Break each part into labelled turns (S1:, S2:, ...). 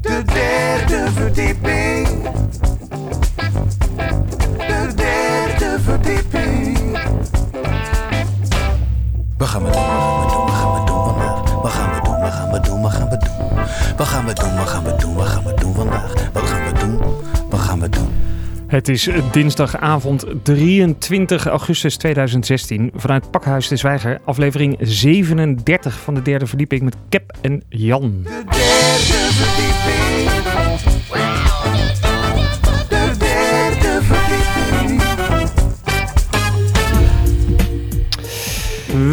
S1: De derde verdieping. De derde verdieping. Wat gaan we doen? Wat gaan we doen? Wat gaan we doen? Wat gaan we doen? Wat gaan we doen? Wat gaan we doen? Wat gaan we doen? Wat gaan we doen? Wat gaan we doen vandaag? Wat gaan we doen? Wat gaan we doen?
S2: Het is dinsdagavond 23 augustus 2016. Vanuit Pakhuis de Zwijger, aflevering 37 van de derde verdieping met Cap en Jan.
S1: De derde verdieping. De derde verdieping.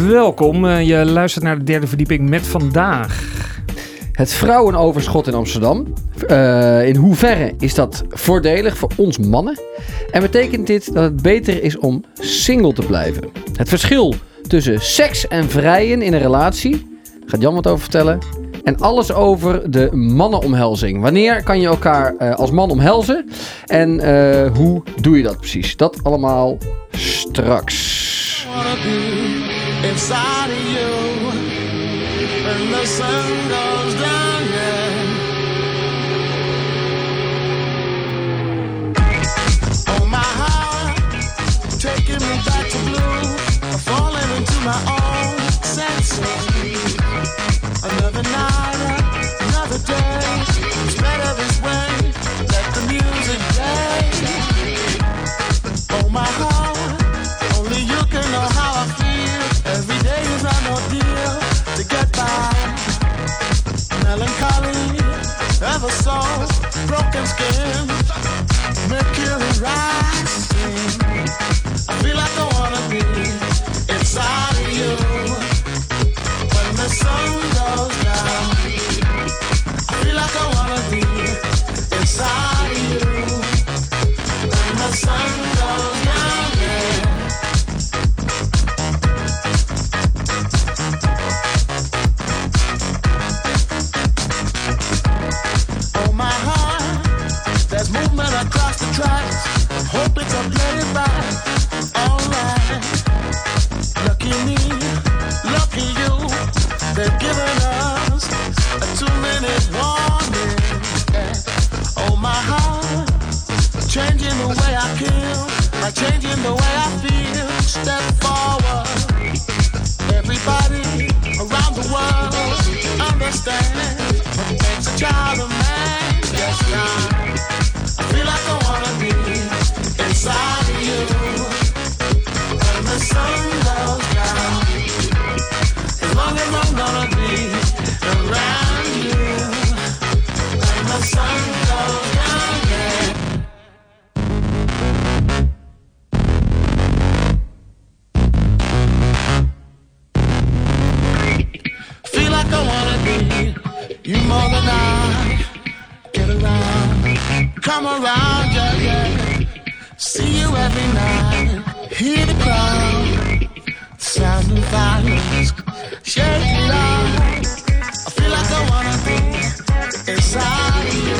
S2: Welkom, eh, je luistert naar de derde verdieping met vandaag.
S3: Het vrouwenoverschot in Amsterdam. Eh, in hoeverre is dat voordelig voor ons mannen? En betekent dit dat het beter is om single te blijven? Het verschil tussen seks en vrijen in een relatie. Gaat Jan wat over vertellen. En alles over de mannenomhelzing. Wanneer kan je elkaar eh, als man omhelzen? En eh, hoe doe je dat precies? Dat allemaal straks.
S4: wanna be inside of you when the sun goes down. Yeah. Oh my heart, taking me back to blue. I'm falling into my own senses. Another night, another day. It's better this way. Let the music play. Oh my heart, only you can know how I feel. Every day is an ordeal to get by. Melancholy, ever so broken skin, mercury rising. I feel like I wanna be inside of you. When the sun goes down, I feel like I wanna be inside of you. When the sun goes down, yeah. Oh my heart, there's movement across the tracks. Hope it's up laid back. Alright. Lucky me, lucky you. They've given us a two-minute warning. Yeah. Oh my heart. Changing the way I feel, by changing the way I feel. Step forward. Everybody around the world understand what makes a child a man. Yes, I, I feel like I wanna be inside of you. When the sun goes down, as long as I'm gonna be around you. When the sun goes down, yeah. Feel like I wanna be you more than I get around. Come around, yeah, yeah. See you every night. Hear the crowd, sound of violence. Shake it out. I feel like I wanna be inside of you.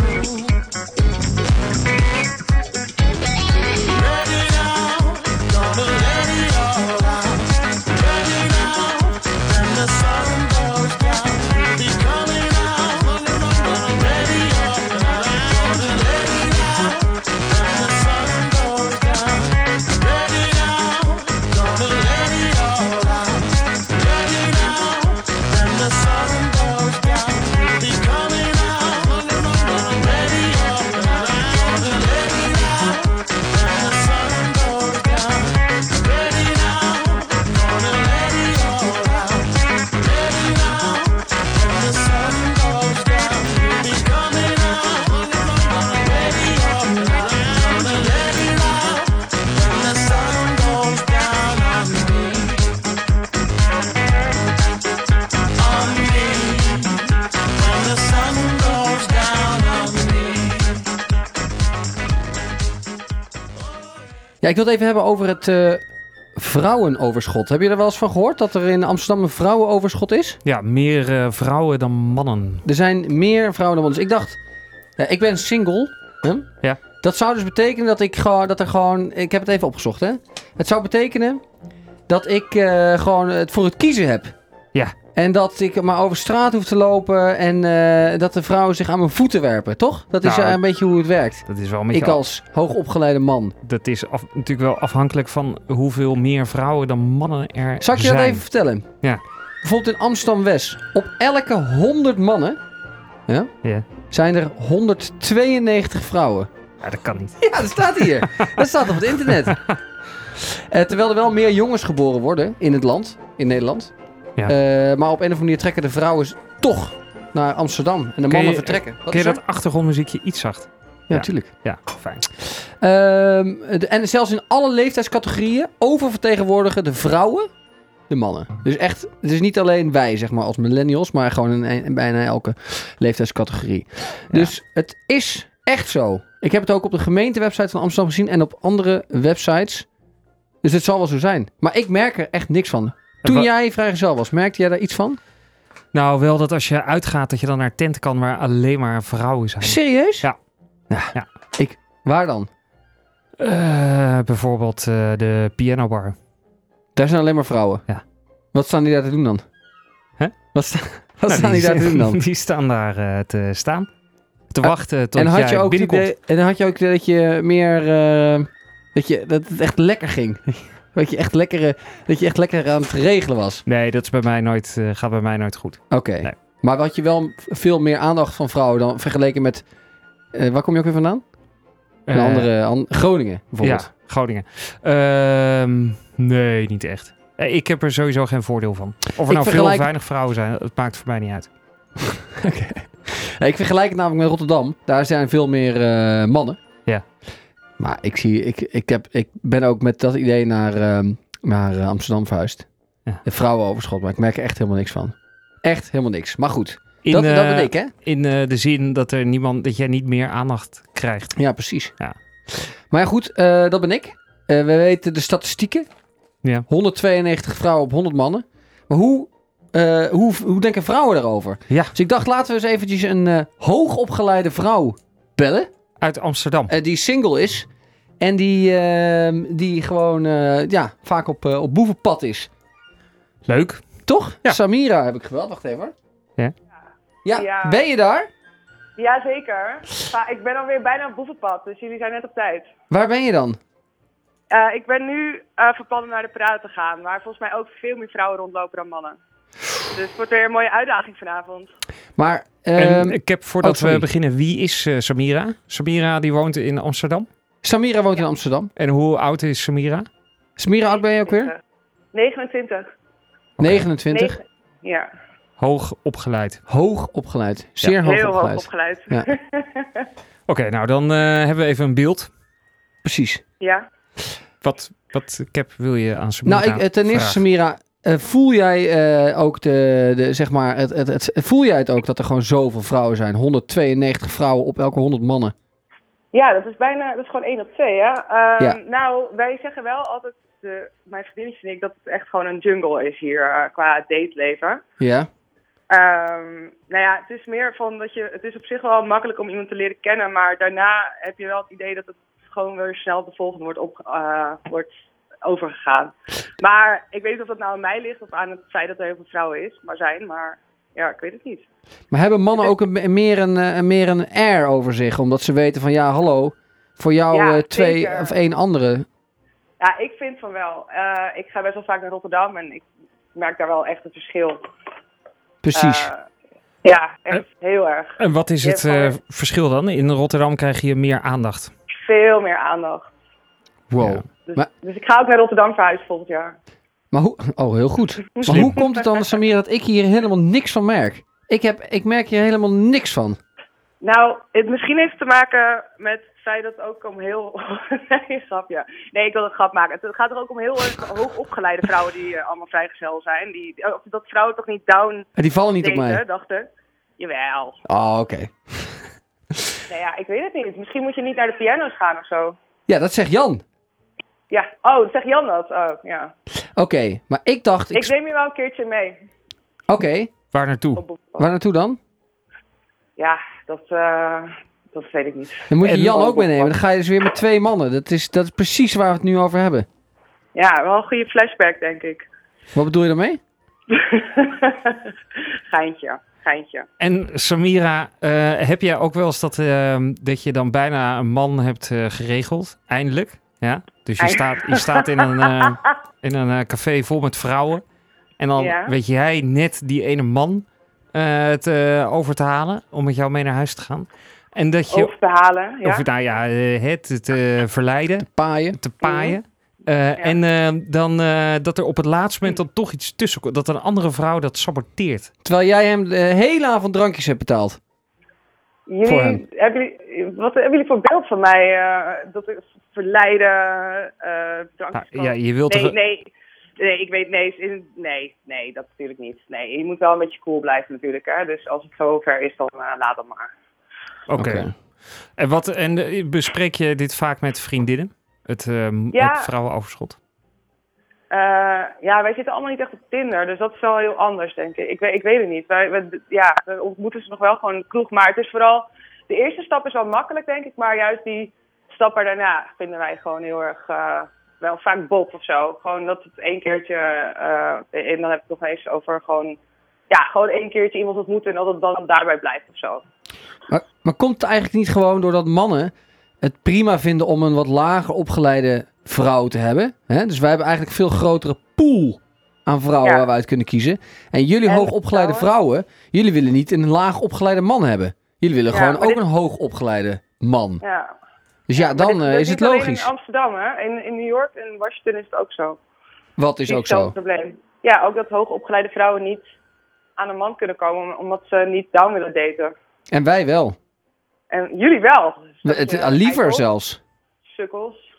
S4: Let it out, gonna let it all out. Let it out, when the sun goes down. Be coming out, gonna let it all out. Gonna let it out, when the sun goes down. Let it out, gonna let it all out. Let it out, when the sun goes down. Be coming out, gonna let it all out. Gonna let it out, when the sun goes down. Let it out, gonna let it all out. Let it out, when the sun goes down. Be coming out, gonna let it all out. Gonna let it out, when the sun goes down on me. On me, when the sun goes down on me.
S3: Ja, ik wil het even hebben over het eh, vrouwenoverschot. Heb je er wel eens van gehoord dat er in Amsterdam een vrouwenoverschot is?
S2: Ja, meer eh, vrouwen dan mannen.
S3: Er zijn meer vrouwen dan mannen. Dus ik dacht, ja, ik ben single. Hè?
S2: Ja.
S3: Dat zou dus betekenen dat ik gewoon, dat er gewoon, ik heb het even opgezocht hè. Het zou betekenen dat ik eh, gewoon het voor het kiezen heb.
S2: Ja.
S3: En dat ik maar over straat hoef te lopen en eh, dat de vrouwen zich aan mijn voeten werpen, toch? Dat is
S2: Nou,
S3: eh, een beetje hoe het werkt.
S2: Dat is wel een beetje
S3: Ik als hoogopgeleide man.
S2: Dat is af- natuurlijk wel afhankelijk van hoeveel meer vrouwen dan mannen er
S3: Zal ik je
S2: zijn.
S3: dat even vertellen?
S2: Ja.
S3: Bijvoorbeeld in Amsterdam-West. Op elke 100 mannen ja,
S2: Ja.
S3: zijn er 192 vrouwen.
S2: Ja, dat kan niet.
S3: Ja, dat staat hier. dat staat op het internet. Eh, terwijl er wel meer jongens geboren worden in het land, in Nederland.
S2: Ja.
S3: Eh, maar op een of andere manier trekken de vrouwen toch naar Amsterdam. En de mannen
S2: je-
S3: vertrekken. Wat
S2: Kun je
S3: is er?
S2: dat achtergrondmuziekje iets zacht?
S3: Ja, natuurlijk.
S2: Ja, fijn.
S3: Ehm, de- en zelfs in alle leeftijdscategorieën oververtegenwoordigen de vrouwen de mannen. Dus echt, het is niet alleen wij, zeg maar, als millennials, maar gewoon in, een- in bijna elke leeftijdscategorie. Dus het is echt zo. Ik heb het ook op de gemeentewebsite van Amsterdam gezien en op andere websites. Dus het zal wel zo zijn. Maar ik merk er echt niks van. Toen
S2: wa-
S3: jij vrijgezel was, merkte jij daar iets van?
S2: Nou, wel dat als je uitgaat dat je dan naar tent kan waar alleen maar vrouwen zijn.
S3: Serieus?
S2: Ja.
S3: ja.
S2: Ja.
S3: Ik, waar dan?
S2: Eh, bijvoorbeeld eh, de pianobar.
S3: Daar zijn alleen maar vrouwen.
S2: Ja.
S3: Wat staan die daar te doen dan?
S2: Hè?
S3: Wat, sta- wat
S2: Nou,
S3: staan die, daar te doen dan?
S2: Die staan daar eh, te staan. Te
S3: Ah,
S2: wachten tot
S3: En had,
S2: jij
S3: je ook het
S2: binnenkomt.
S3: idee, en had je ook het idee dat je meer. eh, dat, je, dat het echt lekker ging. Dat je echt, lekkere, dat je echt lekker aan het regelen was.
S2: Nee, dat is bij mij nooit, eh, gaat bij mij nooit goed.
S3: Oké.
S2: Nee.
S3: Maar had je wel veel meer aandacht van vrouwen dan vergeleken met. eh, waar kom je ook weer vandaan? Een
S2: Eh,
S3: andere. an- Groningen bijvoorbeeld.
S2: Ja, Groningen. Ehm, nee, niet echt. Eh, Ik heb er sowieso geen voordeel van. Of er nou veel
S3: vergelijk-
S2: of weinig vrouwen zijn, het maakt voor mij niet uit.
S3: Ja, Nou, ik vergelijk het namelijk met Rotterdam. Daar zijn veel meer eh, mannen.
S2: Ja.
S3: Maar ik, zie, ik, ik, heb, ik ben ook met dat idee naar, ehm, naar eh, Amsterdam vuist.
S2: Ja.
S3: De vrouwenoverschot, maar ik merk er echt helemaal niks van. Echt helemaal niks. Maar goed,
S2: In,
S3: dat, dat
S2: eh,
S3: ben ik, hè?
S2: in eh, de zin dat, er niemand, dat jij niet meer aandacht krijgt.
S3: Ja, precies.
S2: Ja.
S3: Maar ja, goed, eh, dat ben ik. Eh, we weten de statistieken.
S2: Ja.
S3: 192 vrouwen op 100 mannen. Maar hoe, eh, hoe, hoe denken vrouwen daarover?
S2: Ja.
S3: Dus ik dacht, laten we eens eventjes een eh, hoogopgeleide vrouw bellen.
S2: Uit Amsterdam.
S3: eh, die single is. En die, ehm, die gewoon eh, ja, vaak op, eh, op boevenpad is.
S2: Leuk.
S3: Toch?
S2: Ja.
S3: Samira heb ik gebeld. Wacht even. hoor.
S2: Ja.
S3: Ja,
S5: Ja.
S3: ben je daar?
S5: Jazeker. Maar ik ben alweer bijna op boevenpad, dus jullie zijn net op tijd.
S3: Waar ben je dan?
S5: Eh, ik ben nu eh van plan om naar de praat te gaan, waar volgens mij ook veel meer vrouwen rondlopen dan mannen. Dus het wordt weer een mooie uitdaging vanavond.
S3: Maar,
S2: en
S3: ehm,
S2: ik heb voordat
S3: oh, sorry.
S2: we beginnen, wie is eh, Samira? Samira die woont in Amsterdam.
S3: Samira woont in Amsterdam.
S2: En hoe oud is Samira?
S3: Samira, oud ben je ook
S5: Eh,
S3: weer?
S5: 29.
S3: 29.
S5: Negen- Ja,
S2: Hoog opgeleid.
S3: Hoog opgeleid. Zeer hoog
S5: heel hoog
S3: opgeleid.
S5: opgeleid.
S3: Ja.
S5: Ja.
S2: Oké, nou dan eh, hebben we even een beeld.
S3: Precies.
S2: Wat, wat cap wil je aan Samira
S3: Nou, ik, eh, ten eerste,
S2: vragen?
S3: Samira, eh, voel jij eh, ook de, de, zeg maar, het, het, het, voel jij het ook dat er gewoon zoveel vrouwen zijn? 192 vrouwen op elke 100 mannen.
S5: Ja, dat is bijna, dat is gewoon één op twee, hè? Ehm,
S3: Ja.
S5: Nou, wij zeggen wel altijd, de, mijn vriendinnetje en ik, dat het echt gewoon een jungle is hier eh, qua dateleven.
S3: Ja?
S5: Ehm, nou ja, het is meer van dat je. Het is op zich wel makkelijk om iemand te leren kennen, maar daarna heb je wel het idee dat het gewoon weer snel de volgende wordt, op, eh, wordt overgegaan. Maar ik weet niet of dat nou aan mij ligt of aan het feit dat er heel veel vrouwen is, maar zijn, maar ja, ik weet het niet.
S3: Maar hebben mannen ook een, meer, een, eh, meer een air over zich? Omdat ze weten van, ja, hallo, voor jou
S5: Ja,
S3: eh, twee
S5: zeker.
S3: of één andere.
S5: Ja, ik vind van wel. Eh, ik ga best wel vaak naar Rotterdam en ik merk daar wel echt het verschil.
S3: Precies.
S5: Eh, ja, echt heel erg.
S2: En wat is
S5: Je
S2: het
S5: hebt gewoon-
S2: eh, verschil dan? In Rotterdam krijg je meer aandacht.
S5: Veel meer aandacht.
S3: wow.
S2: ja.
S5: Dus,
S3: Maar-
S5: dus ik ga ook naar Rotterdam verhuizen volgend jaar.
S3: Maar hoe, oh, heel goed. Maar
S2: Slim.
S3: hoe komt het dan, Samira, dat ik hier helemaal niks van merk? Ik, heb, ik merk hier helemaal niks van.
S5: Nou, het misschien heeft te maken met het feit dat het ook om heel... nee, grap, ja. Nee, ik wil een grap maken. Het gaat er ook om heel erg hoogopgeleide vrouwen die eh, allemaal vrijgezel zijn. Die, eh, dat vrouwen toch niet down
S3: Eh, Die vallen niet op mij.
S5: daten, dacht ik. Jawel.
S3: Oh, oké.
S5: Nou ja, ik weet het niet. Misschien moet je niet naar de piano's gaan of zo.
S3: Ja, dat zegt Jan.
S5: Ja. Oh, zegt Jan dat? Oh, ja.
S3: Oké, maar ik dacht... Ik,
S5: Ik neem je wel een keertje mee.
S3: Oké,
S2: Waar naartoe?
S5: Op boek.
S3: waar naartoe dan?
S5: Ja, dat... eh, Dat weet ik niet.
S3: Dan moet je
S2: En-
S3: Jan ook meenemen. Dan ga je dus weer met twee mannen. Dat is, dat is precies waar we het nu over hebben.
S5: Ja, wel een goede flashback, denk ik.
S3: Wat bedoel je daarmee?
S5: geintje, geintje.
S2: En Samira, eh, heb jij ook wel eens dat, eh, dat je dan bijna een man hebt eh, geregeld? Eindelijk. Ja? Dus je staat, je staat in een, eh, in een eh, café vol met vrouwen. En dan
S5: Ja.
S2: weet jij net die ene man eh, te, over te halen om met jou mee naar huis te gaan. En dat je,
S5: Over te halen, ja.
S2: of nou ja, eh, het te verleiden,
S3: Paaien.
S5: Mhm.
S2: te paaien. Eh, En eh, dan eh, dat er op het laatste moment
S5: Mhm.
S2: dan toch iets tussen komt. Dat een andere vrouw dat saboteert.
S3: Terwijl jij hem de hele avond drankjes hebt betaald.
S5: Jullie,
S3: voor hem.
S5: Hebben jullie, wat hebben jullie voor beeld van mij? eh, dat ik verleiden, eh drankjes
S2: Nou,
S5: kopen?
S2: ja, je wilt
S5: nee,
S2: toch-
S5: nee, nee, ik weet, nee, in- nee, nee, dat natuurlijk niet. Nee, je moet wel een beetje cool blijven natuurlijk, hè. Dus als het zo ver is, dan eh, laat dat maar.
S2: Oké.
S3: Oké.
S2: En, wat, en eh, bespreek je dit vaak met vriendinnen? Het, ehm
S5: Ja.
S2: het vrouwenoverschot?
S5: Eh, ja, wij zitten allemaal niet echt op Tinder, dus dat is wel heel anders, denk ik. Ik weet, ik weet het niet. Wij, we, ja, we ontmoeten ze nog wel gewoon in de kroeg, maar het is vooral... De eerste stap is wel makkelijk, denk ik, maar juist die stap er daarna vinden wij gewoon heel erg... eh, wel vaak bob of zo. Gewoon dat het één keertje... eh, en dan heb ik het nog eens over gewoon... Ja, gewoon één keertje iemand ontmoeten en dat het dan daarbij blijft of zo.
S3: Maar, maar komt het eigenlijk niet gewoon doordat mannen het prima vinden om een wat lager opgeleide vrouw te hebben? Hè? Dus wij hebben eigenlijk een veel grotere pool aan vrouwen
S5: Ja.
S3: waar we uit kunnen kiezen. En jullie
S5: En
S3: hoogopgeleide vrouwen, jullie willen niet een laag opgeleide man hebben. Jullie willen
S5: Ja,
S3: gewoon
S5: maar
S3: ook
S5: dit-
S3: een hoogopgeleide man.
S5: Ja.
S3: Dus ja,
S5: Maar dit
S3: dan eh,
S5: gebeurt
S3: is het
S5: niet alleen in
S3: logisch.
S5: Amsterdam, hè. In, in New York en Washington is het ook zo.
S3: Wat is ook zo.
S5: Hetzelfde probleem. Ja, ook dat hoogopgeleide vrouwen niet aan een man kunnen komen om- omdat ze niet down willen daten.
S3: En wij wel.
S5: En jullie wel. Dus
S3: We-
S5: dat
S3: het,
S5: je-
S3: eh, liever
S5: eikels,
S3: zelfs.
S5: Sukkels.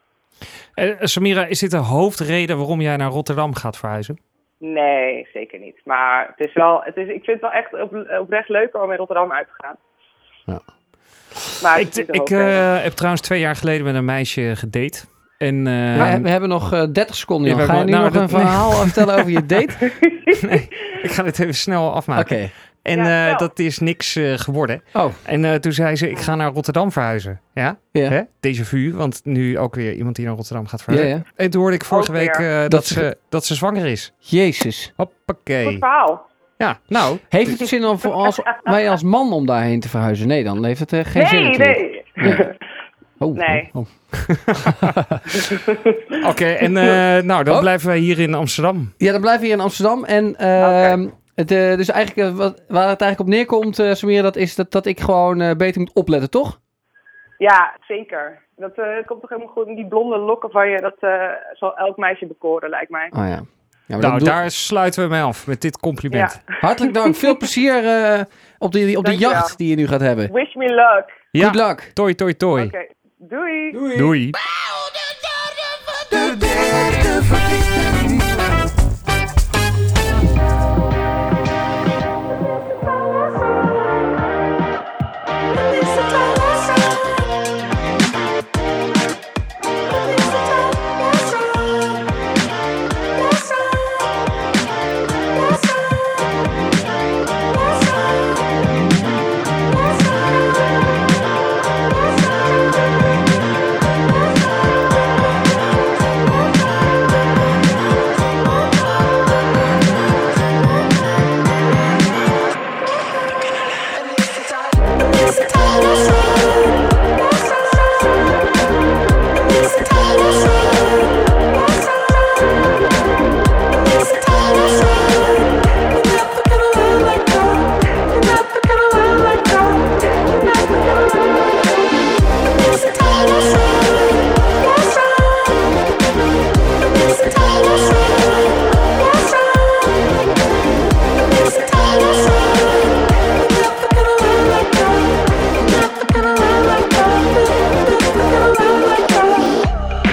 S2: Eh, Samira, is dit de hoofdreden waarom jij naar Rotterdam gaat verhuizen?
S5: Nee, zeker niet. Maar het is wel, het is, ik vind het wel echt op, oprecht leuker om in Rotterdam uit te gaan.
S3: Ja.
S5: Maar
S2: Ik, ik
S5: uh,
S2: eh, heb trouwens twee jaar geleden met een meisje gedate. En, eh,
S3: Maar we hebben nog eh, 30
S2: Ja,
S3: seconden. Jan.
S2: we
S3: Ga je nu
S2: hebben- nou,
S3: nog een
S2: dat- nee.
S3: verhaal vertellen over je date?
S2: ik ga dit even snel
S3: Oké.
S2: afmaken. En
S5: Ja,
S2: eh,
S5: wel.
S2: dat is niks eh, geworden.
S3: Oh,
S2: En eh, toen zei ze, ik ga naar Rotterdam verhuizen. Ja?
S3: ja.
S2: Hè? Déjà vu, want nu ook weer iemand die naar Rotterdam gaat
S3: Ja,
S2: verhuizen.
S3: ja.
S2: En toen hoorde ik vorige
S5: Ook
S2: week
S5: weer.
S2: eh, dat,
S3: Dat ze-
S2: ze, dat ze zwanger is.
S3: Jezus.
S5: Goed
S2: Hoppakee.
S5: verhaal.
S2: Ja, nou,
S3: Heeft het zin om voor als, wij als man om daarheen te verhuizen? Nee, dan heeft het eh, geen zin
S5: Nee,
S3: natuurlijk.
S5: nee.
S3: Oh,
S5: Nee.
S3: oh, oh.
S2: oké. en eh, nou, dan
S3: Oh. Nou,
S2: blijven wij hier in Amsterdam.
S3: Ja, dan blijven we hier in Amsterdam. En ehm, het, eh, dus eigenlijk, eh, wat, waar het eigenlijk op neerkomt, eh Samira, dat is dat, dat ik gewoon eh, beter moet opletten, toch?
S5: Ja, zeker. Dat eh, komt toch helemaal goed. Die blonde lokken van je, dat eh, zal elk meisje bekoren, lijkt mij.
S3: Oh ja. ja maar dat
S2: Nou,
S3: bedoel-
S2: daar sluiten we mee af met dit compliment.
S5: Ja.
S3: Hartelijk dank. Veel plezier eh, op die, op die
S5: Dankjewel.
S3: jacht die je nu gaat hebben.
S5: Wish me luck.
S2: Ja.
S3: Good luck.
S2: Toi, toi, toi.
S5: Oké, doei.
S2: Doei.
S6: De derde verliefde.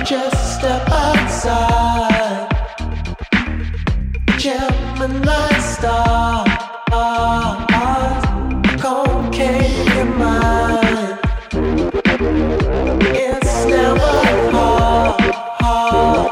S7: Just step outside. Gemini star. Concave in mind. It's never hard. hard.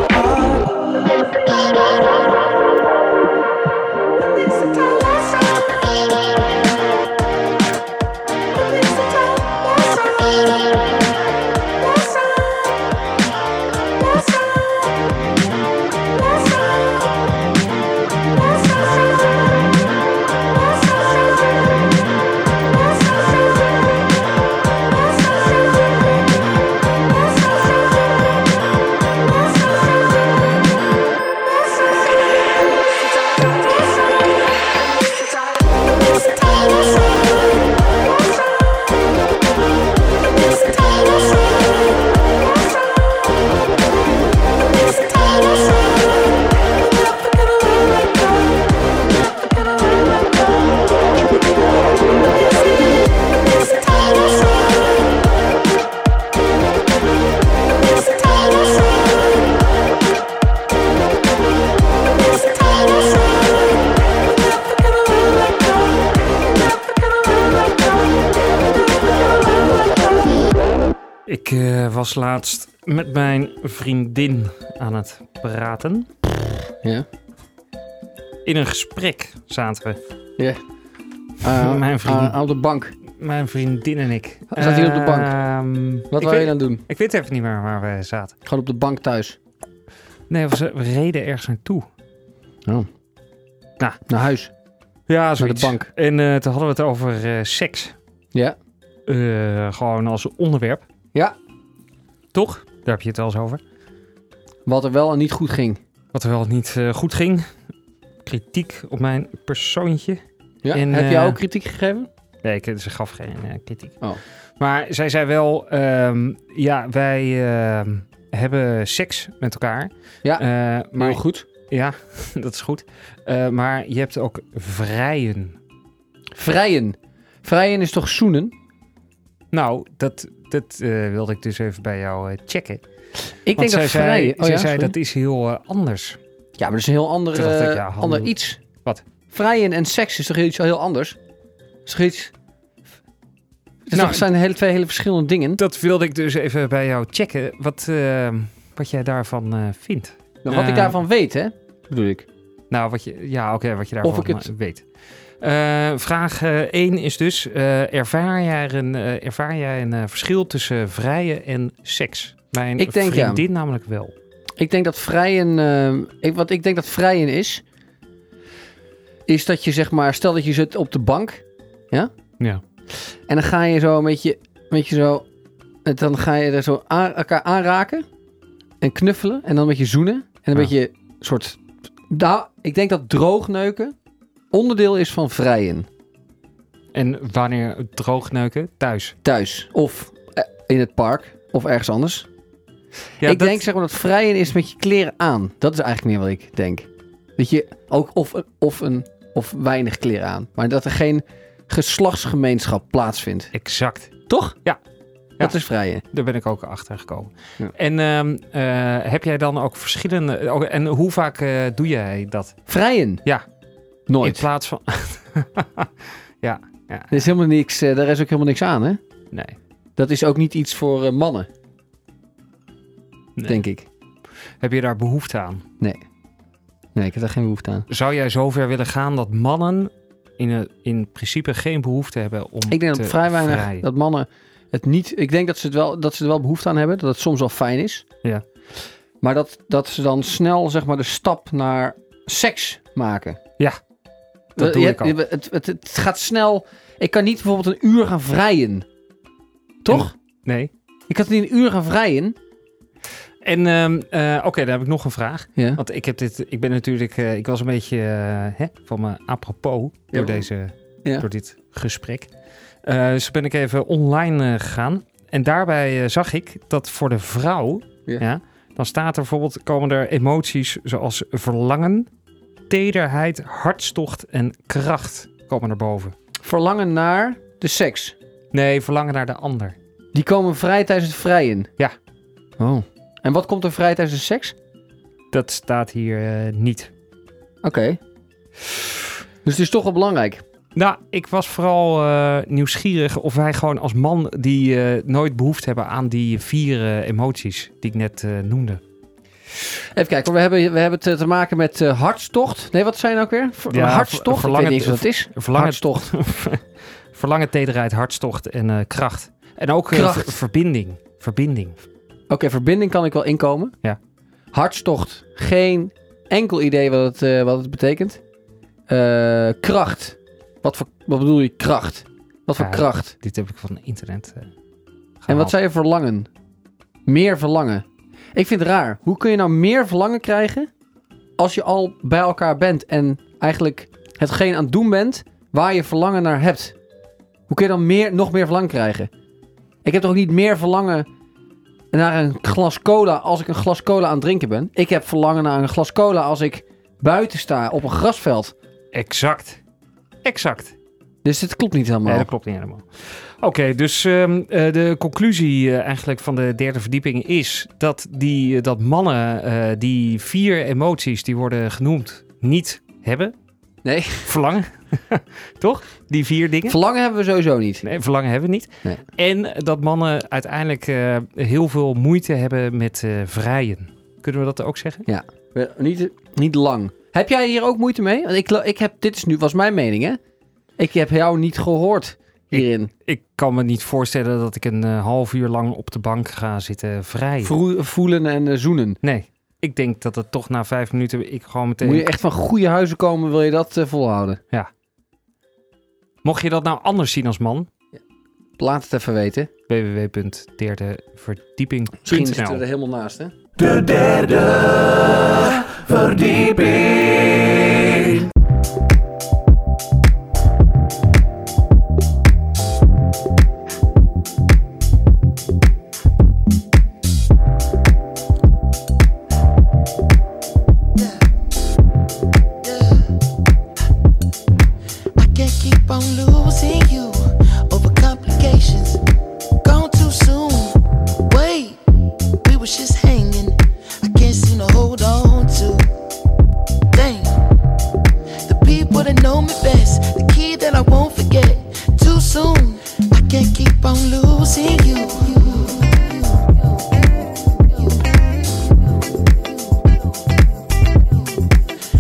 S2: Ik eh, was laatst met mijn vriendin aan het praten.
S3: Ja.
S2: In een gesprek zaten we.
S3: Ja. Eh,
S2: Mijn vriend.
S3: eh, op de bank.
S2: Mijn vriendin en ik.
S3: Zat hij op de bank?
S2: Ehm,
S3: Wat
S2: ik,
S3: wil je
S2: weet,
S3: dan doen?
S2: ik weet even niet meer waar we zaten.
S3: Gewoon op de bank thuis.
S2: Nee, we, we reden ergens naartoe.
S3: Naar huis.
S2: Ja,
S3: Naar de bank.
S2: En eh, toen hadden we het over eh, seks.
S3: Ja.
S2: Eh, gewoon als onderwerp.
S3: Ja.
S2: Toch? Daar heb je het wel eens over.
S3: Wat er wel en niet goed ging.
S2: Wat wel niet eh, goed ging. Kritiek op mijn persoontje.
S3: Ja.
S2: En,
S3: Heb
S2: eh,
S3: jij ook kritiek gegeven?
S2: Nee, ik, ze gaf geen eh, kritiek.
S3: Oh.
S2: Maar zij zei wel, ehm, ja, wij ehm, hebben seks met elkaar.
S3: Ja,
S2: Eh, maar
S3: Heel goed.
S2: ja, dat is goed. Eh, maar je hebt ook vrijen.
S3: Vrijen. Vrijen is toch zoenen?
S2: Nou, dat, dat eh, wilde ik dus even bij jou eh, checken. Ik
S3: Ik denk
S2: zij
S3: dat
S2: zei,
S3: vrijen...
S2: zij
S3: oh ja,
S2: zei
S3: sorry.
S2: dat is heel eh, anders.
S3: ja, maar dat is een heel ander,
S2: Toen dacht ik,
S3: eh,
S2: ja, handel-
S3: ander iets.
S2: Wat?
S3: Vrijen en seks is toch iets heel anders? Is toch iets... Het
S2: Nou,
S3: nou, zijn hele, twee hele verschillende dingen.
S2: Dat wilde ik dus even bij jou checken. Wat, eh, wat jij daarvan eh, vindt.
S3: Nou, wat ik
S2: Eh,
S3: daarvan weet, hè? Bedoel ik.
S2: Nou, wat je, ja, oké, wat je daarvan
S3: ik het-
S2: eh, weet. Eh, vraag 1 is dus, eh, ervaar jij een, eh, ervaar jij een eh, verschil tussen vrije en seks? Mijn
S3: Ik denk, ja.
S2: vriendin namelijk wel.
S3: Ik denk dat vrijen... eh, ik, wat ik denk dat vrijen is... Is dat je zeg maar... Stel dat je zit op de bank. Ja?
S2: Ja.
S3: En dan ga je zo een beetje... Een beetje zo... en Dan ga je er zo aan, elkaar aanraken. En knuffelen. En dan een beetje zoenen. En een
S2: Ja.
S3: beetje soort... Nou, ik denk dat droogneuken onderdeel is van vrijen.
S2: En wanneer droogneuken? Thuis.
S3: Thuis. Of eh, in het park. Of ergens anders.
S2: Ja,
S3: ik
S2: dat-
S3: denk zeg maar dat vrijen is met je kleren aan. Dat is eigenlijk meer wat ik denk. Dat je ook of, of, een, of weinig kleren aan. Maar dat er geen geslachtsgemeenschap plaatsvindt.
S2: Exact.
S3: Toch?
S2: Ja.
S3: Dat
S2: Ja.
S3: is vrijen.
S2: Daar ben ik ook achter gekomen.
S3: Ja.
S2: En ehm, eh, heb jij dan ook verschillende... ook- en hoe vaak eh, doe jij dat?
S3: Vrijen?
S2: Ja.
S3: Nooit.
S2: In plaats van...
S3: Er is helemaal niks, eh, daar is ook helemaal niks aan, hè?
S2: Nee.
S3: Dat is ook niet iets voor eh, mannen.
S2: Nee.
S3: Denk ik.
S2: Heb je daar behoefte aan?
S3: Nee, ik heb daar geen behoefte aan.
S2: Zou jij zover willen gaan dat mannen in, in principe geen behoefte hebben om
S3: Ik denk
S2: te
S3: dat vrij weinig,
S2: vrijen?
S3: dat mannen het niet... Ik denk dat ze, het wel, dat ze er wel behoefte aan hebben. Dat het soms wel fijn is.
S2: Ja.
S3: Maar dat, dat ze dan snel zeg maar de stap naar seks maken.
S2: Ja, dat
S3: Eh,
S2: doe
S3: je-
S2: ik al.
S3: je- Het, het, het gaat snel. Ik kan niet bijvoorbeeld een uur gaan vrijen. Toch?
S2: Nee.
S3: Ik kan niet een uur gaan vrijen.
S2: En ehm, eh, oké, dan heb ik nog een vraag.
S3: Ja.
S2: Want ik, heb dit, ik ben natuurlijk, eh, ik was een beetje eh, hè, van me apropos door,
S3: maar-
S2: deze,
S3: Ja.
S2: door dit gesprek. Eh, dus toen ben ik even online eh, gegaan. En daarbij eh, zag ik dat voor de vrouw, ja.
S3: Ja.
S2: dan staat er bijvoorbeeld, komen er emoties zoals verlangen, tederheid, hartstocht en kracht komen naar boven.
S3: Verlangen naar de seks.
S2: Nee, verlangen naar de ander.
S3: Die komen vrij tijdens het vrijen.
S2: Ja.
S3: Oh. En wat komt er vrij tijdens de seks?
S2: Dat staat hier eh, niet.
S3: Oké. Dus het is toch wel belangrijk.
S2: Nou, ik was vooral eh, nieuwsgierig of wij gewoon als man die eh, nooit behoefte hebben aan die vier eh, emoties die ik net eh, noemde.
S3: Even kijken, hoor, we hebben, we hebben te, te maken met eh, hartstocht. Nee, wat zijn ook weer? Ver-
S2: Ja, ver-
S3: hartstocht? Ik weet
S2: verlangen-
S3: niet eens wat het is.
S2: Verlangen,
S3: Hartstocht.
S2: verlangen tederheid, hartstocht en eh, kracht. En ook eh,
S3: Kracht.
S2: ver- verbinding. Verbinding.
S3: Oké, verbinding kan ik wel inkomen.
S2: Ja.
S3: Hartstocht, geen enkel idee wat het, eh, wat het betekent. Eh, kracht. Wat, voor, wat bedoel je kracht? Wat voor
S2: Ja,
S3: kracht?
S2: Dit heb ik van internet. eh,
S3: En
S2: gehaald.
S3: wat zei je verlangen? Meer verlangen. Ik vind het raar. Hoe kun je nou meer verlangen krijgen als je al bij elkaar bent en eigenlijk hetgeen aan het doen bent waar je verlangen naar hebt? Hoe kun je dan meer, nog meer verlangen krijgen? Ik heb toch ook niet meer verlangen naar een glas cola als ik een glas cola aan het drinken ben? Ik heb verlangen naar een glas cola als ik buiten sta op een grasveld.
S2: Exact. Exact.
S3: Dus dit klopt niet helemaal.
S2: Nee, dat klopt niet helemaal. Oké, dus ehm, eh, de conclusie eh, eigenlijk van de derde verdieping is dat, eh, die, dat mannen eh, die vier emoties die worden genoemd niet hebben.
S3: Nee,
S2: Verlangen. Toch? Die vier dingen.
S3: verlangen hebben we sowieso niet.
S2: Nee, verlangen hebben we niet.
S3: Nee.
S2: En dat mannen uiteindelijk eh, heel veel moeite hebben met eh, vrijen. Kunnen we dat ook zeggen?
S3: Ja, we- niet, niet lang. Heb jij hier ook moeite mee? Want ik, lo- ik heb, dit is nu, was mijn mening, hè? Ik heb jou niet gehoord hierin.
S2: Ik kan me niet voorstellen dat ik een eh, half uur lang op de bank ga zitten vrijen.
S3: Vroe- voelen en eh, zoenen.
S2: Nee, ik denk dat het toch na vijf minuten ik gewoon meteen...
S3: Moet je echt van goede huizen komen, wil je dat eh, volhouden?
S2: Mocht je dat nou anders zien als man,
S3: Laat het even weten. Misschien zitten we er
S2: www.derdeverdieping.nl
S3: helemaal naast, hè?
S8: De derde verdieping.
S9: I can't keep on losing you over complications. Gone too soon. Wait, we was just hanging. I can't seem to hold on to. Dang, the people that know me best, the key that I won't forget. Too soon, I can't keep on losing you.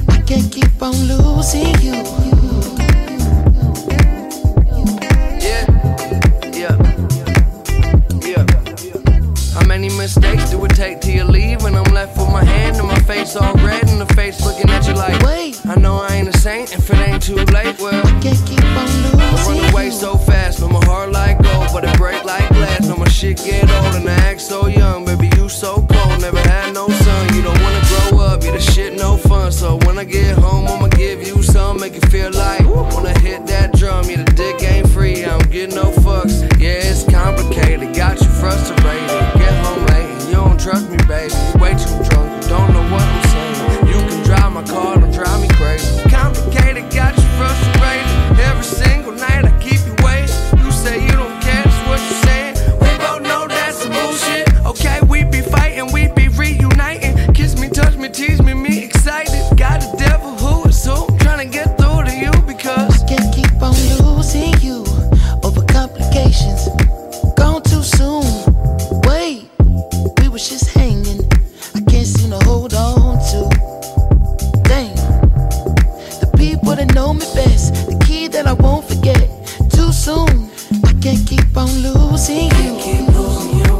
S9: I can't keep on losing you.
S10: Yeah, yeah, yeah. How many mistakes do it take till you leave? And I'm left with my hand and my face all red and the face looking at you like,
S9: Wait.
S10: I know I ain't a saint if it ain't too late. Well,
S9: Can't keep on
S10: I
S9: losing
S10: run away
S9: you.
S10: so fast, but my heart like gold, but it break like glass. Now my shit get old and I act so young, baby you so cold, never had no son. You don't wanna grow up, you the shit no fun. So when I get home, I'ma give you some, make you feel like when I hit that drum, you the dick ain't free, I don't get no fucks. Yeah, it's complicated, got you frustrated. Get home late, and you don't trust me, baby. You way too drunk, you don't know what I'm saying. You can drive my car, don't drive me crazy. Complicated, got you frustrated. Every single night I keep you waiting. You say you don't care, that's what you saying. We both know that's some bullshit. Okay, we be fighting, we be reuniting. Kiss me, touch me, tease me, me excited. Got the devil who is who. Trying to get through to you because
S9: Can't keep on losing you over complications. Gone too soon. Wait, we was just hanging. I can't seem to hold on to. Dang, the people that know me best, the key that I won't forget. Too soon, I can't keep on losing you.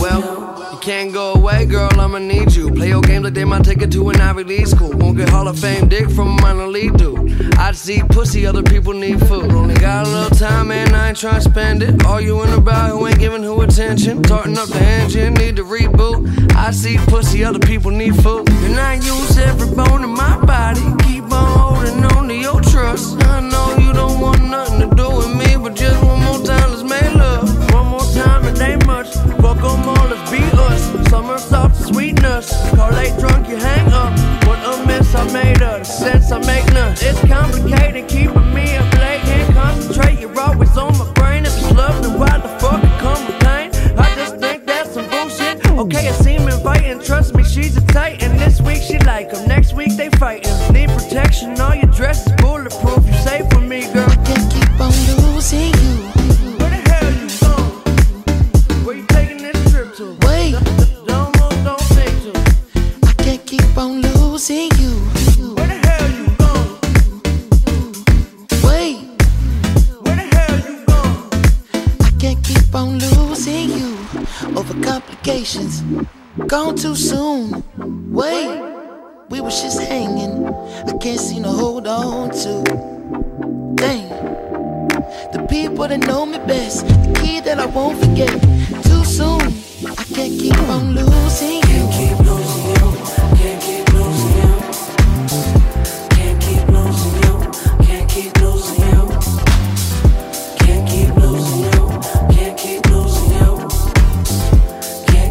S10: Well, you can't go away, girl, I'ma need you. Play your game today, my ticket to an Ivy League school. Won't get Hall of Fame dick from a minor league dude. I just eat pussy, other people need food. Only got a little time, man, I ain't tryna spend it. All you in about who ain't giving who attention. Tarting up the engine, need to reboot. I see pussy, other people need food. And I use every bone in my body. Keep on holding on to your trust. I know you don't want nothing to do with me, but just one more time, let's make love. One more time, it ain't much. Fuck 'em all, let's beat us. Summer soft sweetness. Car late drunk, you hang up. What a mess I made of. The sense I make none. It's complicated, keeping me up late. Can't concentrate, you're always on my brain. If it's love, then why the fuck it come with pain? I just think that's some bullshit. Okay, it seem inviting. Trust me, she's a titan. This week she like 'em, next week they fighting. Need protection, all your dress is bulletproof. You safe with me, girl.
S9: Can't keep on losing you.
S10: Where the hell you from? Where you taking this trip to?
S9: Wait,
S10: Don't move, don't think to.
S9: I can't keep on losing you.
S10: Where the hell you gone?
S9: Wait,
S10: Where the hell you gone?
S9: I can't keep on losing you over complications. Gone too soon. Wait, we was just hanging. I can't seem to hold on to. Dang, the people that know me best, the key that I won't forget. Too soon, I can't keep on losing you.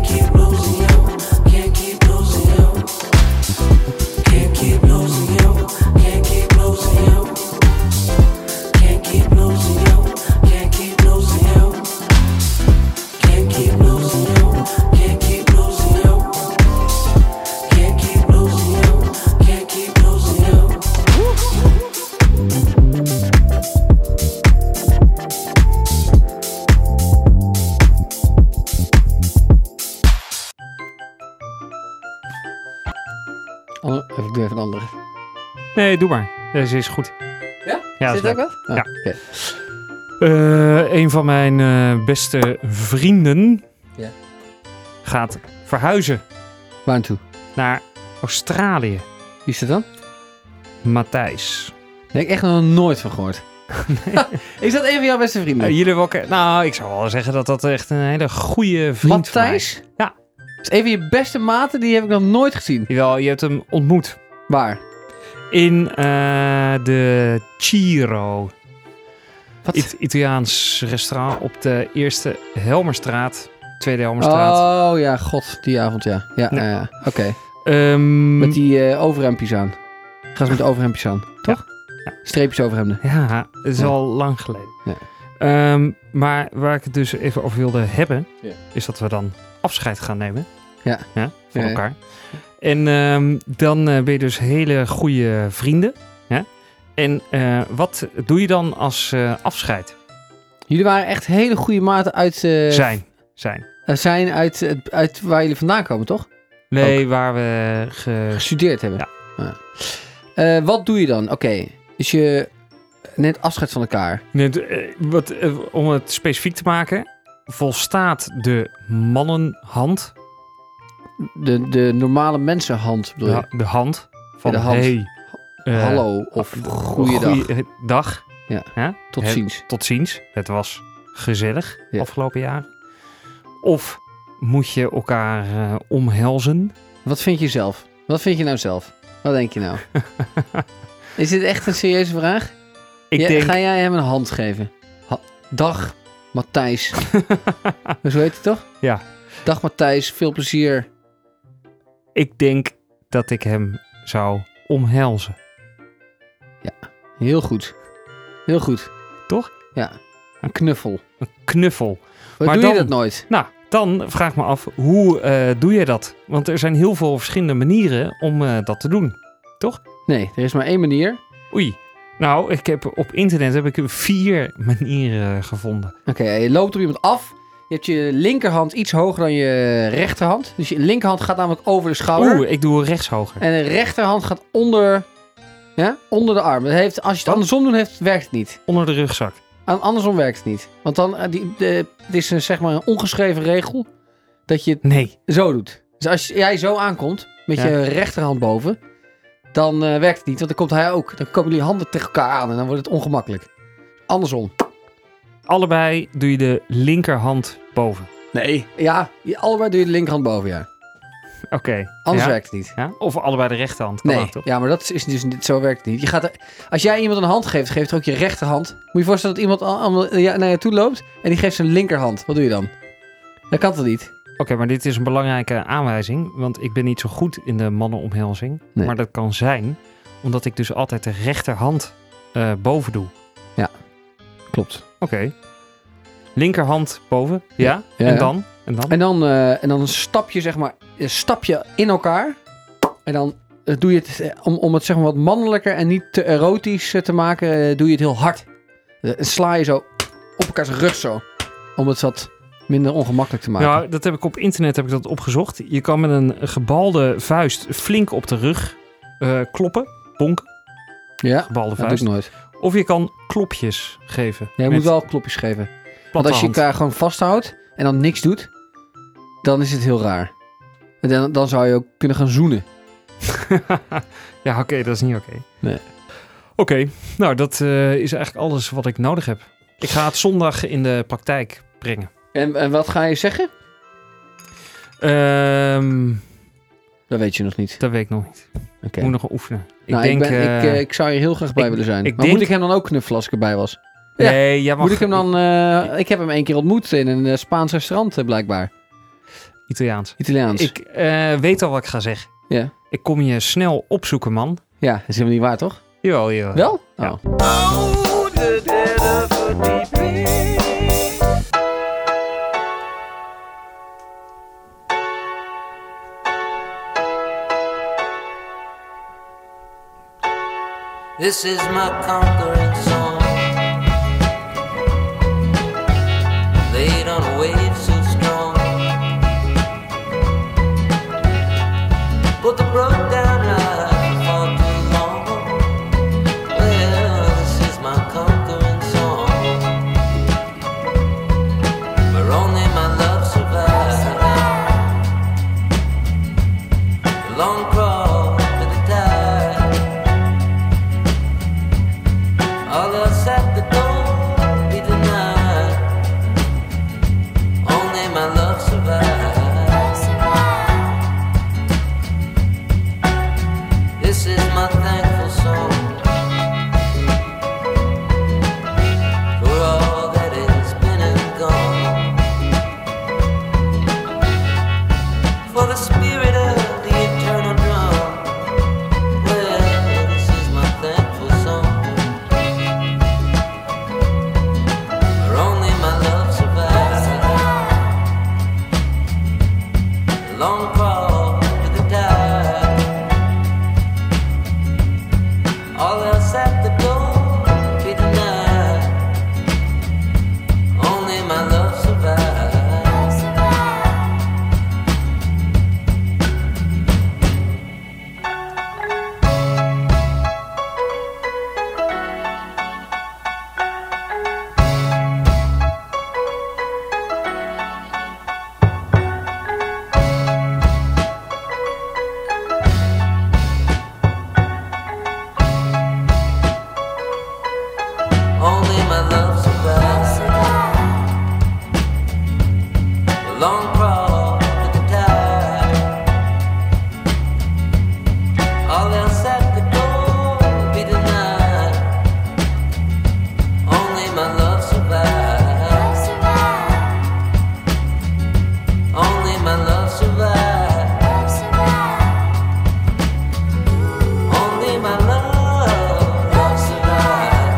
S10: Can't keep losing you, can't keep losing you.
S3: Ander- Oh, even, doe even een andere.
S2: Nee, doe maar. Deze is goed.
S3: Ja?
S2: Ja, is
S3: Zit er ook wat? Oh,
S2: Ja.
S3: oké.
S2: Eh, een van mijn eh, beste vrienden
S3: Ja.
S2: gaat verhuizen
S3: Waar naartoe?
S2: naar Australië.
S3: Wie is dat dan?
S2: Matthijs.
S3: Daar heb ik echt nog nooit van gehoord. is dat een van jouw beste vrienden?
S2: Eh, jullie wel ke- Nou, ik zou wel zeggen dat dat echt een hele goede vriend van
S3: Matthijs?
S2: Ja.
S3: Dat is een van je beste maten, die heb ik nog nooit gezien.
S2: mij- Jawel, je hebt hem ontmoet.
S3: Waar?
S2: In eh, de Ciro.
S3: Wat?
S2: It- Italiaans restaurant op de eerste Helmerstraat. Tweede Helmerstraat.
S3: Oh ja, god, die avond ja. Ja,
S2: Ja. Mm.
S3: ja, ja. oké.
S2: Ehm,
S3: Oh. Met die eh, overhemdjes aan. Gaan ze met de overhemdjes aan, toch? Streepjes overhemden.
S2: Ja, het is
S3: Ja.
S2: al lang geleden.
S3: Ja.
S2: Ehm, maar waar ik het dus even over wilde hebben,
S3: Ja.
S2: is dat we dan afscheid gaan nemen.
S3: Ja.
S2: van
S3: Ja, ja.
S2: elkaar. En ehm, dan eh, ben je dus hele goede vrienden. Ja? En eh, wat doe je dan als eh, afscheid?
S3: Jullie waren echt hele goede maten uit, eh,
S2: zijn. Zijn.
S3: eh, zijn uit, het- uit waar jullie vandaan komen, toch?
S2: Nee, waar we... Ge...
S3: Gestudeerd hebben.
S2: Ja.
S3: Ja. Eh, wat doe je dan? Oké, dus je neemt afscheid van elkaar.
S2: Nee, d- eh, wat, eh, om het specifiek te maken, volstaat de mannenhand,
S3: De, de normale mensenhand bedoel je?
S2: de, de hand, van
S3: de hand.
S2: hey, eh,
S3: Hallo of goeiedag.
S2: Goeie- eh, dag.
S3: Ja. Tot
S2: Het-
S3: ziens.
S2: Tot ziens. Het was gezellig
S3: Ja.
S2: afgelopen jaar. Of moet je elkaar eh, omhelzen?
S3: Wat vind je zelf? Wat vind je nou zelf? Wat denk je nou? Is dit echt een serieuze vraag?
S2: Ik
S3: Ja,
S2: denk,
S3: Ga jij hem een hand geven? Ha- Dag, Matthijs. Zo heet hij toch?
S2: Ja.
S3: Dag Matthijs, veel plezier.
S2: ik denk dat ik hem zou omhelzen.
S3: Heel goed. Heel goed.
S2: Toch?
S3: Ja. Een knuffel.
S2: Knuffel.
S3: Maar
S2: Maar
S3: doe je
S2: dan-
S3: dat nooit?
S2: Nou, dan vraag ik me af, hoe eh, doe je dat? Want er zijn heel veel verschillende manieren om eh, dat te doen.
S3: Nee, er is maar één manier.
S2: Oei. Nou, ik heb op internet heb ik vier manieren gevonden.
S3: Oké, je loopt op iemand af. Je hebt je linkerhand iets hoger dan je rechterhand. Dus je linkerhand gaat namelijk over de schouder.
S2: Oeh, ik doe rechts hoger.
S3: En de rechterhand gaat onder, ja, onder de arm. Dat heeft, als je het andersom doet, heeft, werkt het niet.
S2: Onder de rugzak.
S3: Aan- Andersom werkt het niet. Want dan, eh, die, de, het is een, zeg maar een ongeschreven regel dat je
S2: Nee.
S3: het zo doet. Dus als jij zo aankomt, met
S2: Ja.
S3: je rechterhand boven, dan eh, werkt het niet. Want dan komt hij ook. Dan komen jullie handen tegen elkaar aan en dan wordt het ongemakkelijk. Andersom.
S2: Allebei doe je de linkerhand boven.
S3: Nee. Ja, je, allebei doe je de linkerhand boven, ja.
S2: Oké.
S3: Anders
S2: ja?
S3: werkt het niet.
S2: Ja? Of allebei de rechterhand. Kan
S3: Nee,
S2: ook, toch?
S3: ja, maar dat is dus niet, zo werkt het niet. Je gaat er- als jij iemand een hand geeft, geeft er ook je rechterhand. Moet je je voorstellen dat iemand al- allemaal- eh, ja, naar je toe loopt en die geeft zijn linkerhand. Wat doe je dan? Dat kan toch niet?
S2: Oké, maar dit is een belangrijke aanwijzing. Want ik ben niet zo goed in de mannenomhelzing.
S3: Nee.
S2: Maar dat kan zijn omdat ik dus altijd de rechterhand eh, boven doe.
S3: Klopt.
S2: Oké. Linkerhand boven. Ja.
S3: Ja,
S2: en
S3: ja.
S2: dan? En dan?
S3: En dan, eh, en dan stap je zeg maar, eh, stap je in elkaar. En dan eh, doe je het, eh, om, om het zeg maar wat mannelijker en niet te erotisch eh, te maken, eh, doe je het heel hard. Eh, en sla je zo op elkaars rug zo. Om het wat minder ongemakkelijk te maken.
S2: Nou, dat heb ik op internet heb ik dat opgezocht. Je kan met een gebalde vuist flink op de rug eh, kloppen. Bonken,
S3: ja,
S2: gebalde
S3: dat doe ik
S2: vuist.
S3: nooit.
S2: Of je kan klopjes geven.
S3: Ja, je
S2: met
S3: moet wel klopjes geven.
S2: platte
S3: Want als je
S2: hand.
S3: elkaar gewoon vasthoudt en dan niks doet, dan is het heel raar. En dan, dan zou je ook kunnen gaan zoenen.
S2: ja, oké, dat is niet oké.
S3: Nee.
S2: Oké, nou dat eh, is eigenlijk alles wat ik nodig heb. Ik ga het zondag in de praktijk brengen.
S3: En, en wat ga je zeggen?
S2: Ehm,
S3: Dat weet je nog niet.
S2: dat weet ik nog niet.
S3: Oké.
S2: Ik moet nog oefenen. Ik
S3: Nou,
S2: denk...
S3: ik, ben, ik,
S2: eh,
S3: eh, ik zou je heel graag bij
S2: ik-
S3: willen zijn.
S2: ik
S3: maar moet
S2: denk-
S3: ik hem dan ook knuffelen als ik erbij was? ja.
S2: nee, jij mag...
S3: moet ik hem dan... eh, ik heb hem één keer ontmoet in een eh, Spaans restaurant, eh, blijkbaar.
S2: Italiaans.
S3: Italiaans.
S2: Ik eh, weet al wat ik ga zeggen.
S3: Ja.
S2: Ik kom je snel opzoeken, man.
S3: Ja, dat is helemaal niet waar, toch?
S2: Jawel, jawel.
S3: Wel?
S2: Eh,
S3: Oh.
S2: Ja.
S10: Oh, de derde verdieping. This is my conquering song. Laid on a wave so strong. But the broke down uh, eye
S11: my thankful soul for all that has been and gone, for the spirit of the eternal drum. Well, this is my thankful song, for only my love survives. Long crawl to the tide. All else at the door be denied. Only my love survives. Only my love survives. The long crawl to the tide. All else at the door be denied. Only my love survives. Only my love survives. Only my love, love survives.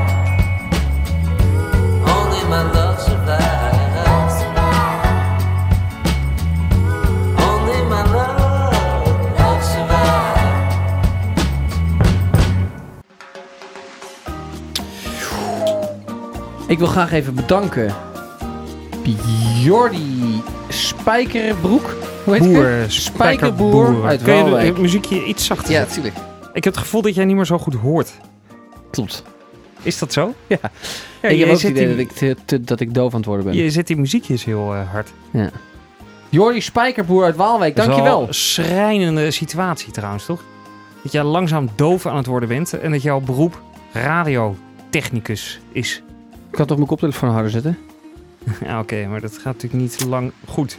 S11: Only my love survives. Only my love, love survives.
S3: Ik wil graag even bedanken Jordi Spijkerbroek. Hoe heet
S2: Boer,
S3: het? Spijkerboer uit
S2: Kun je de-
S3: Waalwijk.
S2: het muziekje iets zachter
S3: Ja,
S2: zetten?
S3: natuurlijk.
S2: Ik heb het gevoel dat jij niet meer zo goed hoort.
S3: Klopt.
S2: Is dat zo?
S3: Ja.
S2: Ja,
S3: ik
S2: je,
S3: heb ook het
S2: zet
S3: idee
S2: die,
S3: dat, ik te- te- dat ik doof aan het worden ben.
S2: je zet die muziekjes heel eh, hard.
S3: Jordi Spijkerboer uit Waalwijk,
S2: Dat is
S3: dankjewel.
S2: wel Een schrijnende situatie trouwens, toch? Dat jij langzaam doof aan het worden bent en dat jouw beroep radiotechnicus is.
S3: Ik kan toch mijn koptelefoon harder zetten?
S2: Ja, Oké, maar dat gaat natuurlijk niet lang goed.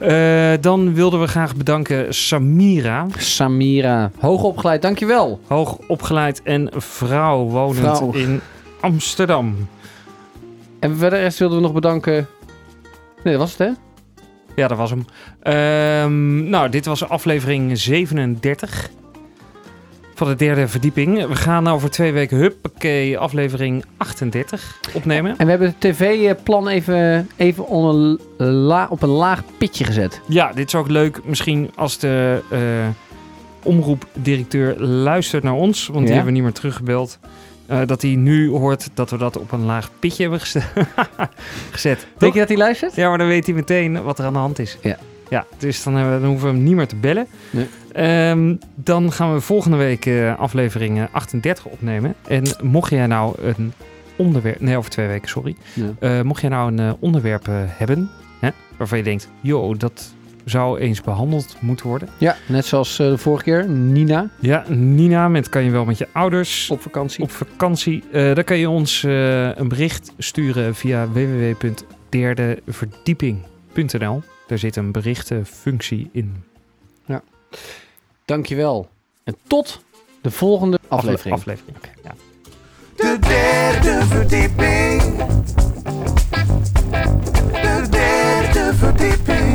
S2: Eh, dan wilden we graag bedanken Samira,
S3: Samira, hoogopgeleid, dankjewel.
S2: hoog opgeleid en vrouw wonend
S3: Vrouw.
S2: in Amsterdam.
S3: En verder rest wilden we nog bedanken... Nee, dat was het hè?
S2: Ja, dat was hem. Ehm, nou, dit was aflevering 37 van de derde verdieping. We gaan over twee weken, huppakee, aflevering 38 opnemen.
S3: En we hebben het tv-plan even, even onder la- op een laag pitje gezet.
S2: Ja, dit is ook leuk misschien als de eh, omroepdirecteur luistert naar ons. Want
S3: Ja.
S2: die hebben we niet meer teruggebeld. Eh, dat hij nu hoort dat we dat op een laag pitje hebben geste- gezet.
S3: Denk
S2: Toch?
S3: je dat hij luistert?
S2: Ja, maar dan weet hij meteen wat er aan de hand is.
S3: Ja.
S2: Ja, dus dan, hebben we- dan hoeven we hem niet meer te bellen.
S3: Nee.
S2: Ehm, dan gaan we volgende week eh, aflevering eh, 38 opnemen. En mocht jij nou een onderwerp... Nee, over twee weken, sorry.
S3: Ja.
S2: Eh, mocht jij nou een eh, onderwerp eh, hebben... Hè, waarvan je denkt, yo, dat zou eens behandeld moeten worden.
S3: Ja, net zoals eh, de vorige keer. Nina,
S2: Ja, Nina, met kan je wel met je ouders...
S3: op vakantie.
S2: Op vakantie. Eh, dan kan je ons eh, een bericht sturen via www.derdeverdieping.nl. Daar zit een berichtenfunctie in.
S3: Dankjewel. En tot de volgende aflevering.
S2: aflevering. Ja.
S11: De derde verdieping. De derde verdieping.